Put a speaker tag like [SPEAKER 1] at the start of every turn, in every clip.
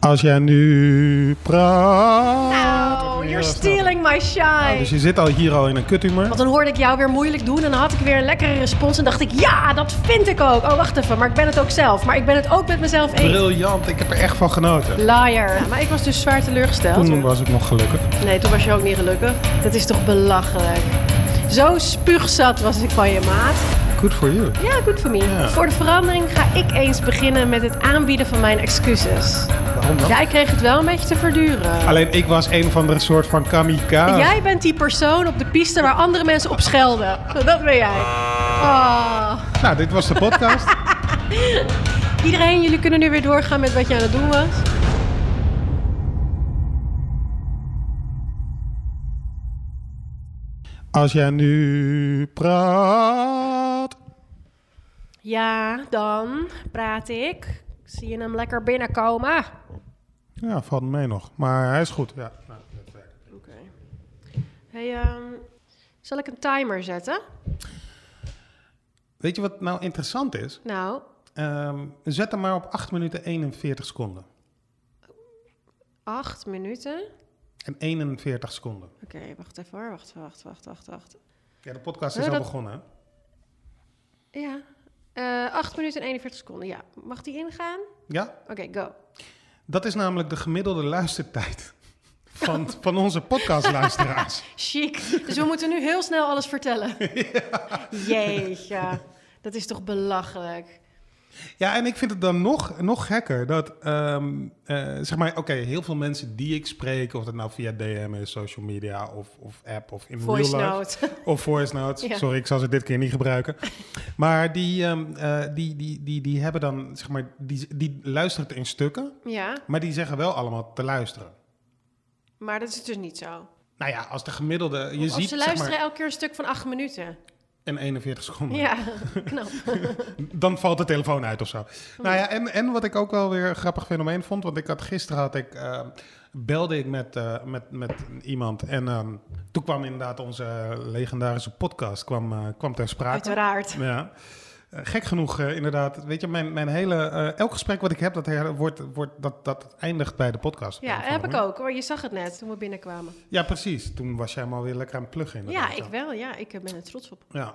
[SPEAKER 1] Als jij nu praat.
[SPEAKER 2] Oh, you're stealing my shine.
[SPEAKER 1] Dus je zit al hier al in een kuthumor.
[SPEAKER 2] Want dan hoorde ik jou weer moeilijk doen en dan had ik weer een lekkere respons. En dacht ik, ja, dat vind ik ook. Oh, wacht even, maar ik ben het ook zelf. Maar ik ben het ook met mezelf eens.
[SPEAKER 1] Briljant, ik heb er echt van genoten.
[SPEAKER 2] Liar. Ja, maar ik was dus zwaar teleurgesteld.
[SPEAKER 1] Toen was ik nog gelukkig.
[SPEAKER 2] Nee, toen was je ook niet gelukkig. Dat is toch belachelijk. Zo spuugzat was ik van je maat.
[SPEAKER 1] Good for you.
[SPEAKER 2] Ja, goed voor me.
[SPEAKER 1] Ja.
[SPEAKER 2] Voor de verandering ga ik eens beginnen met het aanbieden van mijn excuses.
[SPEAKER 1] Waarom dan?
[SPEAKER 2] Jij kreeg het wel een beetje te verduren.
[SPEAKER 1] Alleen ik was een van de soort van kamikaze.
[SPEAKER 2] Jij bent die persoon op de piste waar andere mensen op schelden. Dat ben jij. Ah.
[SPEAKER 1] Nou, dit was de podcast.
[SPEAKER 2] Iedereen, jullie kunnen nu weer doorgaan met wat je aan het doen was.
[SPEAKER 1] Als jij nu praat.
[SPEAKER 2] Ja, dan praat ik. Zie je hem lekker binnenkomen?
[SPEAKER 1] Ja, valt mee nog. Maar hij is goed. Ja.
[SPEAKER 2] Oké. Hey, ehm, zal ik een timer zetten?
[SPEAKER 1] Weet je wat nou interessant is?
[SPEAKER 2] Nou,
[SPEAKER 1] Ehm, zet hem maar op 8 minuten 41 seconden.
[SPEAKER 2] acht minuten.
[SPEAKER 1] En 41 seconden.
[SPEAKER 2] Oké, wacht even hoor. Wacht, wacht, wacht, wacht, wacht.
[SPEAKER 1] Ja, de podcast is
[SPEAKER 2] Ja,
[SPEAKER 1] al
[SPEAKER 2] dat-
[SPEAKER 1] begonnen. hè?
[SPEAKER 2] Ja. Eh 8 minuten en 41 seconden, ja. Mag die ingaan?
[SPEAKER 1] Ja?
[SPEAKER 2] Oké, go.
[SPEAKER 1] Dat is namelijk de gemiddelde luistertijd van, van onze podcastluisteraars.
[SPEAKER 2] Chic. Dus we moeten nu heel snel alles vertellen. Jeetje. Dat is toch belachelijk.
[SPEAKER 1] Ja, en ik vind het dan nog, nog gekker dat, ehm, eh, zeg maar, oké, heel veel mensen die ik spreek, of dat nou via DM is, social media of, of app of in
[SPEAKER 2] Voice
[SPEAKER 1] real life.
[SPEAKER 2] note.
[SPEAKER 1] Of voice notes.
[SPEAKER 2] Ja.
[SPEAKER 1] Sorry, ik zal ze dit keer niet gebruiken. Maar die, ehm, eh, die, die, die, die hebben dan, zeg maar, die, die luisteren het in stukken,
[SPEAKER 2] Ja,
[SPEAKER 1] maar die zeggen wel allemaal te luisteren.
[SPEAKER 2] maar dat is dus niet zo.
[SPEAKER 1] Nou ja, als de gemiddelde, je
[SPEAKER 2] of
[SPEAKER 1] ziet
[SPEAKER 2] ze
[SPEAKER 1] zeg
[SPEAKER 2] luisteren
[SPEAKER 1] maar, Oh
[SPEAKER 2] elke keer een stuk van acht minuten.
[SPEAKER 1] in 41 seconden.
[SPEAKER 2] Ja, knap.
[SPEAKER 1] dan valt de telefoon uit of zo. Nou ja, en, en wat ik ook wel weer een grappig fenomeen vond, want ik had gisteren had ik, eh, belde ik met, eh, met, met iemand en ehm, toen kwam inderdaad onze legendarische podcast kwam, eh, kwam ter sprake.
[SPEAKER 2] Uiteraard.
[SPEAKER 1] Ja. Eh, Gek genoeg, eh, inderdaad. Weet je, mijn, mijn hele. eh, elk gesprek wat ik heb, dat, her- wordt, wordt, dat, dat eindigt bij de podcast.
[SPEAKER 2] Ja,
[SPEAKER 1] Op een of
[SPEAKER 2] heb ik
[SPEAKER 1] andere
[SPEAKER 2] ook. hoor. je zag het net toen we binnenkwamen.
[SPEAKER 1] manier. Ja, precies. Toen was jij hem alweer lekker aan het pluggen.
[SPEAKER 2] Ja,
[SPEAKER 1] inderdaad.
[SPEAKER 2] ik wel. Ja, ik ben er trots op.
[SPEAKER 1] Ja,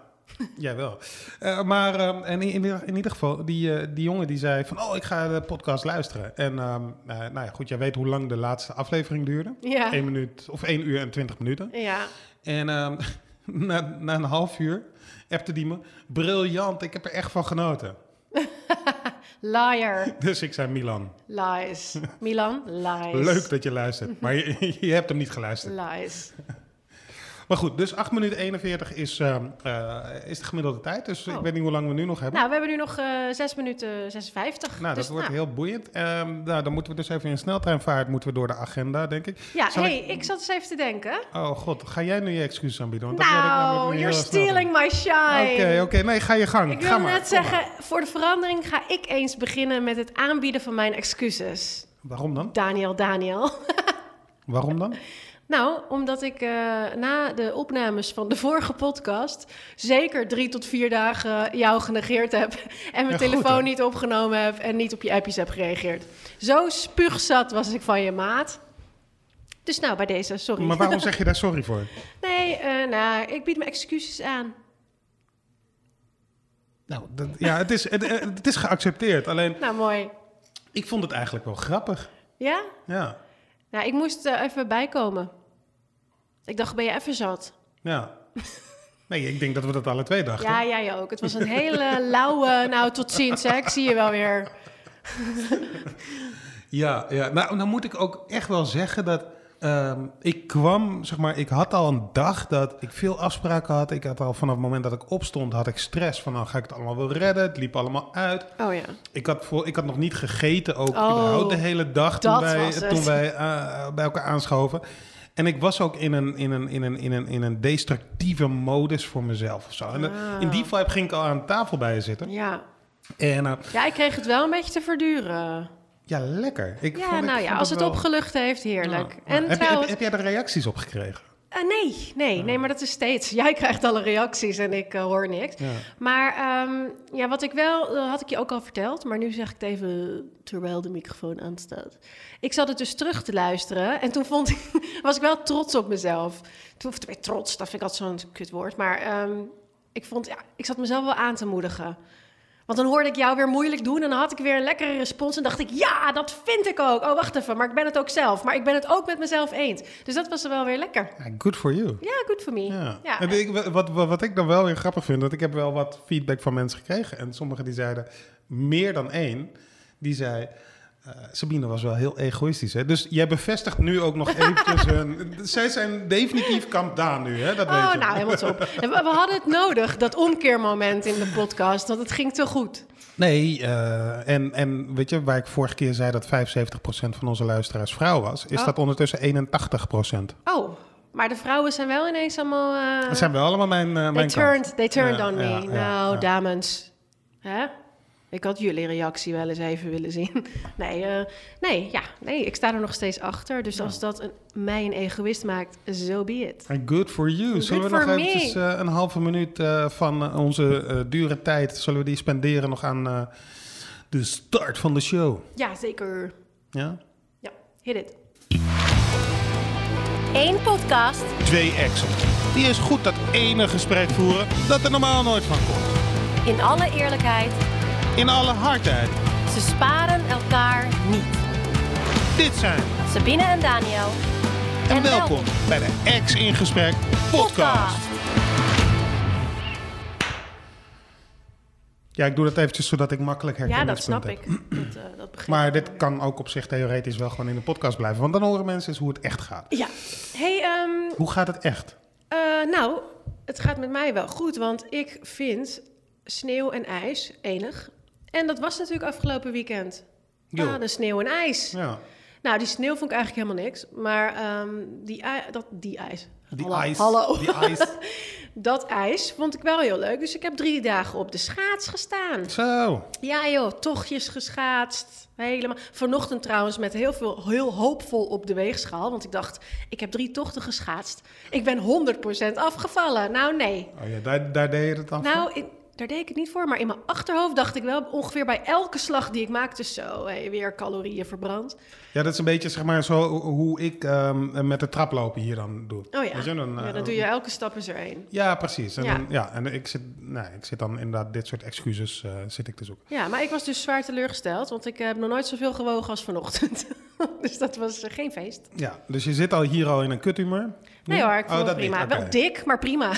[SPEAKER 1] jij wel. Eh, maar ehm, en in, in, in ieder geval, die, eh, die jongen die zei van... oh, ik ga de podcast luisteren. En ehm, eh, nou ja, goed, jij weet hoe lang de laatste aflevering duurde.
[SPEAKER 2] Ja.
[SPEAKER 1] 1 minuut, of 1 uur en 20 minuten.
[SPEAKER 2] Ja,
[SPEAKER 1] En ehm, na, na een half uur appte die me... briljant, ik heb er echt van genoten.
[SPEAKER 2] liar.
[SPEAKER 1] Dus ik zei, Milan,
[SPEAKER 2] Lies. Milan, lies.
[SPEAKER 1] leuk dat je luistert. Maar je, je hebt hem niet geluisterd.
[SPEAKER 2] Lies. Mm.
[SPEAKER 1] Maar goed, dus 8 minuten 41 is, ehm, eh, is de gemiddelde tijd. Dus
[SPEAKER 2] Oh.
[SPEAKER 1] ik weet niet hoe lang we nu nog hebben.
[SPEAKER 2] Nou, we hebben nu nog eh 6 minuten 56.
[SPEAKER 1] Nou,
[SPEAKER 2] Dus,
[SPEAKER 1] dat wordt
[SPEAKER 2] nou,
[SPEAKER 1] heel boeiend. Ehm, nou, dan moeten we dus even in sneltreinvaart moeten we door de agenda, denk ik.
[SPEAKER 2] Ja,
[SPEAKER 1] Zal
[SPEAKER 2] hey,
[SPEAKER 1] ik-
[SPEAKER 2] ik... zat eens even te denken.
[SPEAKER 1] Oh god, ga jij nu je excuses aanbieden? Want dat wil ik namelijk
[SPEAKER 2] Nou,
[SPEAKER 1] nu
[SPEAKER 2] you're
[SPEAKER 1] heel snel
[SPEAKER 2] stealing
[SPEAKER 1] doen.
[SPEAKER 2] my shine.
[SPEAKER 1] Oké, oké. Nee, ga je gang.
[SPEAKER 2] Ik
[SPEAKER 1] ga
[SPEAKER 2] wilde
[SPEAKER 1] maar.
[SPEAKER 2] net
[SPEAKER 1] kom maar.
[SPEAKER 2] zeggen, voor de verandering ga ik eens beginnen met het aanbieden van mijn excuses.
[SPEAKER 1] Waarom dan?
[SPEAKER 2] Daniel, Daniel.
[SPEAKER 1] Waarom dan?
[SPEAKER 2] Nou, omdat ik eh, na de opnames van de vorige podcast zeker drie tot vier dagen jou genegeerd heb. En mijn
[SPEAKER 1] Ja, goed,
[SPEAKER 2] telefoon
[SPEAKER 1] hè?
[SPEAKER 2] niet opgenomen heb en niet op je appjes heb gereageerd. Zo spuugzat was ik van je maat. Dus nou, bij deze, sorry.
[SPEAKER 1] Maar waarom zeg je daar sorry voor?
[SPEAKER 2] Nee, eh, nou, ik bied mijn excuses aan.
[SPEAKER 1] Nou, dat, ja, het is, het, eh, het is geaccepteerd. Alleen,
[SPEAKER 2] Nou, mooi.
[SPEAKER 1] ik vond het eigenlijk wel grappig.
[SPEAKER 2] Ja?
[SPEAKER 1] Ja,
[SPEAKER 2] Nou, ik moest eh, even bijkomen. Ik dacht, ben je even zat?
[SPEAKER 1] ja. Nee, ik denk dat we dat alle twee dachten.
[SPEAKER 2] Ja, jij ook. Het was een hele lauwe... Nou, tot ziens, hè. Ik zie je wel weer.
[SPEAKER 1] Ja, ja. Nou, nou moet ik ook echt wel zeggen dat ehm, ik kwam, zeg maar, ik had al een dag dat ik veel afspraken had. Ik had al vanaf het moment dat ik opstond, had ik stress van, nou ga ik het allemaal wel redden. Het liep allemaal uit.
[SPEAKER 2] Oh ja.
[SPEAKER 1] Ik had, voor, ik had nog niet gegeten ook
[SPEAKER 2] Oh,
[SPEAKER 1] überhaupt de hele dag toen
[SPEAKER 2] dat
[SPEAKER 1] wij,
[SPEAKER 2] was het.
[SPEAKER 1] toen wij eh, bij elkaar aanschoven. En ik was ook in een, in een, in een, in een, in een destructieve modus voor mezelf of zo. En eh,
[SPEAKER 2] Ah.
[SPEAKER 1] in die vibe ging ik al aan tafel bij je zitten.
[SPEAKER 2] Ja.
[SPEAKER 1] En eh,
[SPEAKER 2] Ja, ik kreeg het wel een beetje te verduren.
[SPEAKER 1] ja, lekker. Ik
[SPEAKER 2] ja,
[SPEAKER 1] vond- ik
[SPEAKER 2] nou
[SPEAKER 1] vond
[SPEAKER 2] ja, als het
[SPEAKER 1] wel-
[SPEAKER 2] opgelucht heeft, heerlijk.
[SPEAKER 1] Ja, ja. heb, Oh.
[SPEAKER 2] En
[SPEAKER 1] je- heb-
[SPEAKER 2] trouwens,
[SPEAKER 1] heb jij er reacties op gekregen?
[SPEAKER 2] Eh, nee, nee, nee, maar dat is steeds. Jij krijgt alle reacties en ik eh, hoor niks.
[SPEAKER 1] Ja.
[SPEAKER 2] Maar ehm, ja, wat ik wel, eh, had ik je ook al verteld, maar nu zeg ik het even terwijl de microfoon aanstaat. Ik zat het dus terug te luisteren en toen vond ik, was ik wel trots op mezelf. Toen, of tenminste, trots, dat vind ik altijd zo'n kut woord, maar ehm, ik vond, ja, ik zat mezelf wel aan te moedigen. Want dan hoorde ik jou weer moeilijk doen en dan had ik weer een lekkere respons en dacht ik, ja, dat vind ik ook. Oh, wacht even, maar ik ben het ook zelf, maar ik ben het ook met mezelf eens. Dus dat was wel weer lekker.
[SPEAKER 1] Ja, Good for you.
[SPEAKER 2] Ja, good for me.
[SPEAKER 1] Ja.
[SPEAKER 2] Ja.
[SPEAKER 1] En ik, wat, wat, wat ik dan wel weer grappig vind, dat ik heb wel wat feedback van mensen gekregen. En sommigen die zeiden, meer dan één, die zei... eh, Sabine was wel heel egoïstisch, hè? Dus jij bevestigt nu ook nog eventjes hun... Zij zijn definitief kamp Daan nu, hè? Dat weet
[SPEAKER 2] Oh,
[SPEAKER 1] je.
[SPEAKER 2] nou, helemaal top. En We, we hadden het nodig, dat omkeermoment in de podcast, want het ging te goed.
[SPEAKER 1] Nee, eh, en, en weet je, waar ik vorige keer zei dat 75% van onze luisteraars vrouw was... is
[SPEAKER 2] Oh.
[SPEAKER 1] dat ondertussen 81%.
[SPEAKER 2] Oh, maar de vrouwen zijn wel ineens allemaal... eh,
[SPEAKER 1] Dat zijn wel allemaal mijn, eh
[SPEAKER 2] they,
[SPEAKER 1] mijn kant.
[SPEAKER 2] turned, they turned
[SPEAKER 1] Ja,
[SPEAKER 2] on me.
[SPEAKER 1] ja, ja,
[SPEAKER 2] nou,
[SPEAKER 1] ja.
[SPEAKER 2] dames. Hè? Ik had jullie reactie wel eens even willen zien. Nee, eh, nee, ja, nee, ik sta er nog steeds achter. Dus als dat een, mij een egoïst maakt, zo be it.
[SPEAKER 1] En Good for you.
[SPEAKER 2] Good
[SPEAKER 1] zullen we
[SPEAKER 2] for
[SPEAKER 1] nog
[SPEAKER 2] me.
[SPEAKER 1] eventjes eh, een halve minuut eh, van eh, onze eh, dure tijd... zullen we die spenderen nog aan eh, de start van de show?
[SPEAKER 2] Ja, zeker.
[SPEAKER 1] Ja?
[SPEAKER 2] Ja, hit it.
[SPEAKER 3] Eén podcast.
[SPEAKER 1] Twee exen. Die is goed dat ene gesprek voeren dat er normaal nooit van komt.
[SPEAKER 3] In alle eerlijkheid,
[SPEAKER 1] In alle hardheid.
[SPEAKER 3] ze sparen elkaar niet.
[SPEAKER 1] Dit zijn...
[SPEAKER 3] Sabine en Daniel.
[SPEAKER 1] En, welkom, bij de Ex in Gesprek podcast. Ja, ik doe dat eventjes zodat ik makkelijk herken.
[SPEAKER 2] Ja, dat snap ik. Dat, eh, dat begrijp
[SPEAKER 1] Maar
[SPEAKER 2] ik.
[SPEAKER 1] dit kan ook op zich theoretisch wel gewoon in de podcast blijven. Want dan horen mensen eens hoe het echt gaat.
[SPEAKER 2] Ja. Hey, ehm,
[SPEAKER 1] Hoe gaat het echt?
[SPEAKER 2] Eh, nou, het gaat met mij wel goed, want ik vind sneeuw en ijs enig. En dat was natuurlijk afgelopen weekend.
[SPEAKER 1] Jo.
[SPEAKER 2] Ah, de sneeuw en ijs.
[SPEAKER 1] Ja.
[SPEAKER 2] Nou, die sneeuw vond ik eigenlijk helemaal niks. Maar ehm, die, ij- dat, die ijs.
[SPEAKER 1] Die
[SPEAKER 2] Hallo.
[SPEAKER 1] ijs.
[SPEAKER 2] Hallo.
[SPEAKER 1] Die ijs.
[SPEAKER 2] Dat ijs vond ik wel heel leuk. Dus ik heb drie dagen op de schaats gestaan.
[SPEAKER 1] Zo.
[SPEAKER 2] Ja joh, tochtjes geschaatst. Helemaal. Vanochtend trouwens met heel veel, heel hoopvol op de weegschaal. Want ik dacht, ik heb drie tochten geschaatst. Ik ben 100% afgevallen. Nou nee.
[SPEAKER 1] Oh ja, daar, daar deed je het dan voor?
[SPEAKER 2] Nou, ik- daar deed ik het niet voor. Maar in mijn achterhoofd dacht ik wel ongeveer bij elke slag die ik maakte... zo, hé, weer calorieën verbrand.
[SPEAKER 1] Ja, dat is een beetje zeg maar zo ho- hoe ik ehm, met de trap lopen hier dan doe.
[SPEAKER 2] Oh ja,
[SPEAKER 1] Weet je, dan,
[SPEAKER 2] ja,
[SPEAKER 1] eh,
[SPEAKER 2] dan doe je elke stap eens er één.
[SPEAKER 1] Ja, precies. En,
[SPEAKER 2] Ja.
[SPEAKER 1] ja. ja, en ik, zit, nou, ik zit dan inderdaad dit soort excuses eh, zit ik te zoeken.
[SPEAKER 2] Ja, maar ik was dus zwaar teleurgesteld... want ik heb nog nooit zoveel gewogen als vanochtend. dus dat was eh, geen feest.
[SPEAKER 1] Ja, dus je zit al hier al in een kuthumor?
[SPEAKER 2] Nee
[SPEAKER 1] Nu?
[SPEAKER 2] hoor, ik vond het
[SPEAKER 1] Oh, dat
[SPEAKER 2] prima.
[SPEAKER 1] niet, oké.
[SPEAKER 2] Wel dik, maar prima.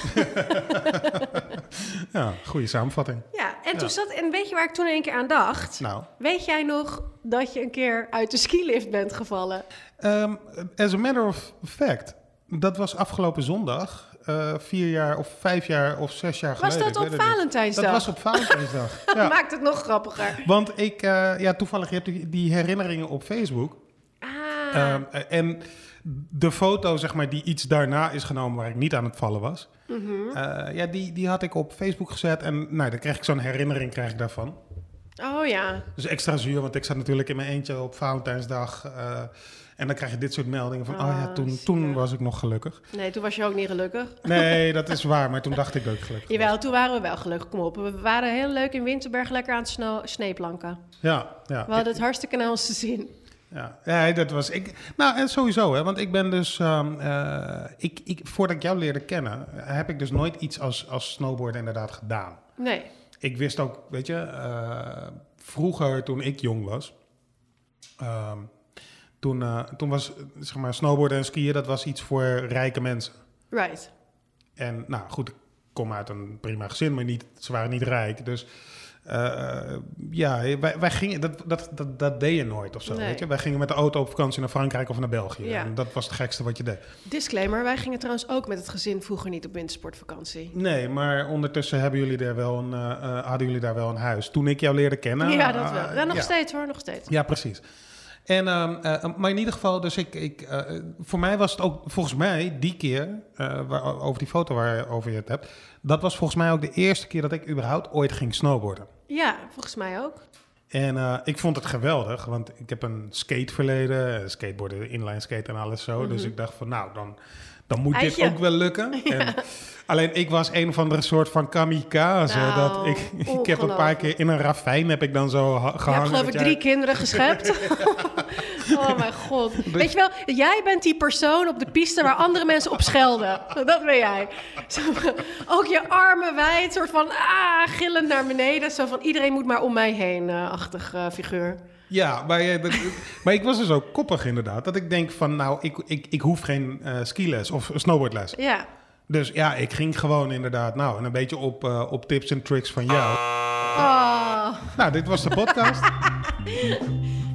[SPEAKER 1] Ja, goede samenvatting.
[SPEAKER 2] ja, en, toen Zat, en weet je waar ik toen in één keer aan dacht?
[SPEAKER 1] Nou,
[SPEAKER 2] Weet jij nog dat je een keer uit de skilift bent gevallen?
[SPEAKER 1] ehm, as a matter of fact, dat was afgelopen zondag, eh, vier jaar of vijf jaar of zes jaar
[SPEAKER 2] Was
[SPEAKER 1] geleden.
[SPEAKER 2] dat
[SPEAKER 1] ik
[SPEAKER 2] op
[SPEAKER 1] weet het niet.
[SPEAKER 2] Valentijnsdag?
[SPEAKER 1] Dat was op Valentijnsdag,
[SPEAKER 2] Dat
[SPEAKER 1] ja.
[SPEAKER 2] maakt het nog grappiger.
[SPEAKER 1] Want ik, eh, ja, toevallig, je hebt die- die herinneringen op Facebook.
[SPEAKER 2] Ah,
[SPEAKER 1] Ehm, eh, en de foto, zeg maar, die iets daarna is genomen waar ik niet aan het vallen was.
[SPEAKER 2] Mhm.
[SPEAKER 1] eh, ja, die, die had ik op Facebook gezet. En nou, dan kreeg ik zo'n herinnering krijg ik daarvan.
[SPEAKER 2] oh ja.
[SPEAKER 1] Dus extra zuur, want ik zat natuurlijk in mijn eentje op Valentijnsdag. eh, en dan krijg je dit soort meldingen van, oh ja,
[SPEAKER 2] Ah,
[SPEAKER 1] toen,
[SPEAKER 2] zielig.
[SPEAKER 1] toen was ik nog gelukkig.
[SPEAKER 2] Nee, toen was je ook niet gelukkig.
[SPEAKER 1] Nee, dat is waar, maar toen dacht ik dat ik gelukkig was.
[SPEAKER 2] Jawel, toen waren we wel gelukkig. Kom op, we waren heel leuk in Winterberg lekker aan het sno- sneeplanken.
[SPEAKER 1] Ja, ja.
[SPEAKER 2] We hadden het hartstikke naar onze zin.
[SPEAKER 1] Ja, ja, dat was ik. Nou, en sowieso, hè, want ik ben dus. ehm, eh, ik, ik, voordat ik jou leerde kennen, heb ik dus nooit iets als, als snowboarden inderdaad gedaan.
[SPEAKER 2] Nee.
[SPEAKER 1] Ik wist ook, weet je, eh, vroeger toen ik jong was. ehm, toen, eh, toen was eh, zeg maar, snowboarden en skiën dat was iets voor rijke mensen.
[SPEAKER 2] Right.
[SPEAKER 1] En nou goed, ik kom uit een prima gezin, maar niet, ze waren niet rijk. Dus eh, ja, wij, wij gingen, dat, dat, dat, dat deed je nooit of zo.
[SPEAKER 2] Nee.
[SPEAKER 1] Weet je? Wij gingen met de auto op vakantie naar Frankrijk of naar België.
[SPEAKER 2] Ja.
[SPEAKER 1] En dat was het gekste wat je deed.
[SPEAKER 2] Disclaimer, wij gingen trouwens ook met het gezin vroeger niet op wintersportvakantie.
[SPEAKER 1] Nee, maar ondertussen hebben jullie daar wel een, eh, eh, hadden jullie daar wel een huis. Toen ik jou leerde kennen.
[SPEAKER 2] ja, dat wel.
[SPEAKER 1] eh,
[SPEAKER 2] Ja, nog
[SPEAKER 1] ja.
[SPEAKER 2] steeds hoor, nog steeds.
[SPEAKER 1] Ja, precies. En, ehm, eh, maar in ieder geval, dus ik, ik, eh, voor mij was het ook, volgens mij, die keer, eh, waar, over die foto waarover je het hebt, dat was volgens mij ook de eerste keer dat ik überhaupt ooit ging snowboarden.
[SPEAKER 2] Ja, volgens mij ook.
[SPEAKER 1] En eh, ik vond het geweldig, want ik heb een skateverleden, eh, skateboarden, inline skate en alles zo. Dus ik dacht van, nou, dan, dan moet
[SPEAKER 2] Mhm. Eitje.
[SPEAKER 1] dit ook wel lukken. En, alleen ik was een van de soort van kamikaze.
[SPEAKER 2] Nou,
[SPEAKER 1] dat ik, ik heb een paar
[SPEAKER 2] ongelooflijk.
[SPEAKER 1] keer in een ravijn heb ik dan zo ha-
[SPEAKER 2] Je
[SPEAKER 1] gehangen.
[SPEAKER 2] hebt geloof ik
[SPEAKER 1] dat
[SPEAKER 2] drie
[SPEAKER 1] jij-
[SPEAKER 2] kinderen geschept. oh mijn god. Weet je wel, jij bent die persoon op de piste waar andere mensen op schelden. Dat ben jij. Zo, ook je armen wijd, soort van ah, gillend naar beneden. Zo van iedereen moet maar om mij heen, eh, achtig eh, figuur.
[SPEAKER 1] Ja, maar, jij- dat- maar ik was dus ook koppig inderdaad. Dat ik denk van, nou, ik, ik, ik hoef geen eh skiles of snowboardles.
[SPEAKER 2] Ja.
[SPEAKER 1] Dus ja, ik ging gewoon inderdaad, nou, en een beetje op, eh, op tips en tricks van jou.
[SPEAKER 2] Oh.
[SPEAKER 1] Nou, dit was de podcast.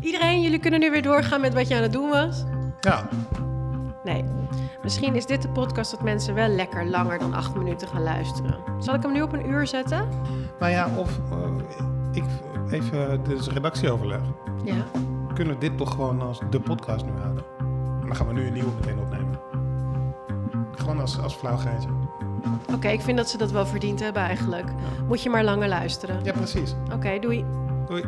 [SPEAKER 2] Iedereen, jullie kunnen nu weer doorgaan met wat je aan het doen was.
[SPEAKER 1] Ja.
[SPEAKER 2] Nee. Misschien is dit de podcast dat mensen wel lekker langer dan acht minuten gaan luisteren. Zal ik hem nu op een uur zetten?
[SPEAKER 1] Nou ja, of eh, ik even dus redactieoverleg.
[SPEAKER 2] Ja.
[SPEAKER 1] Kunnen we dit toch gewoon als de podcast nu houden? En dan gaan we nu een nieuwe meteen opnemen. Gewoon als, als flauw geintje.
[SPEAKER 2] Oké, ik vind dat ze dat wel verdiend hebben eigenlijk. Moet je maar langer luisteren.
[SPEAKER 1] Ja, precies.
[SPEAKER 2] Oké, doei.
[SPEAKER 1] Doei.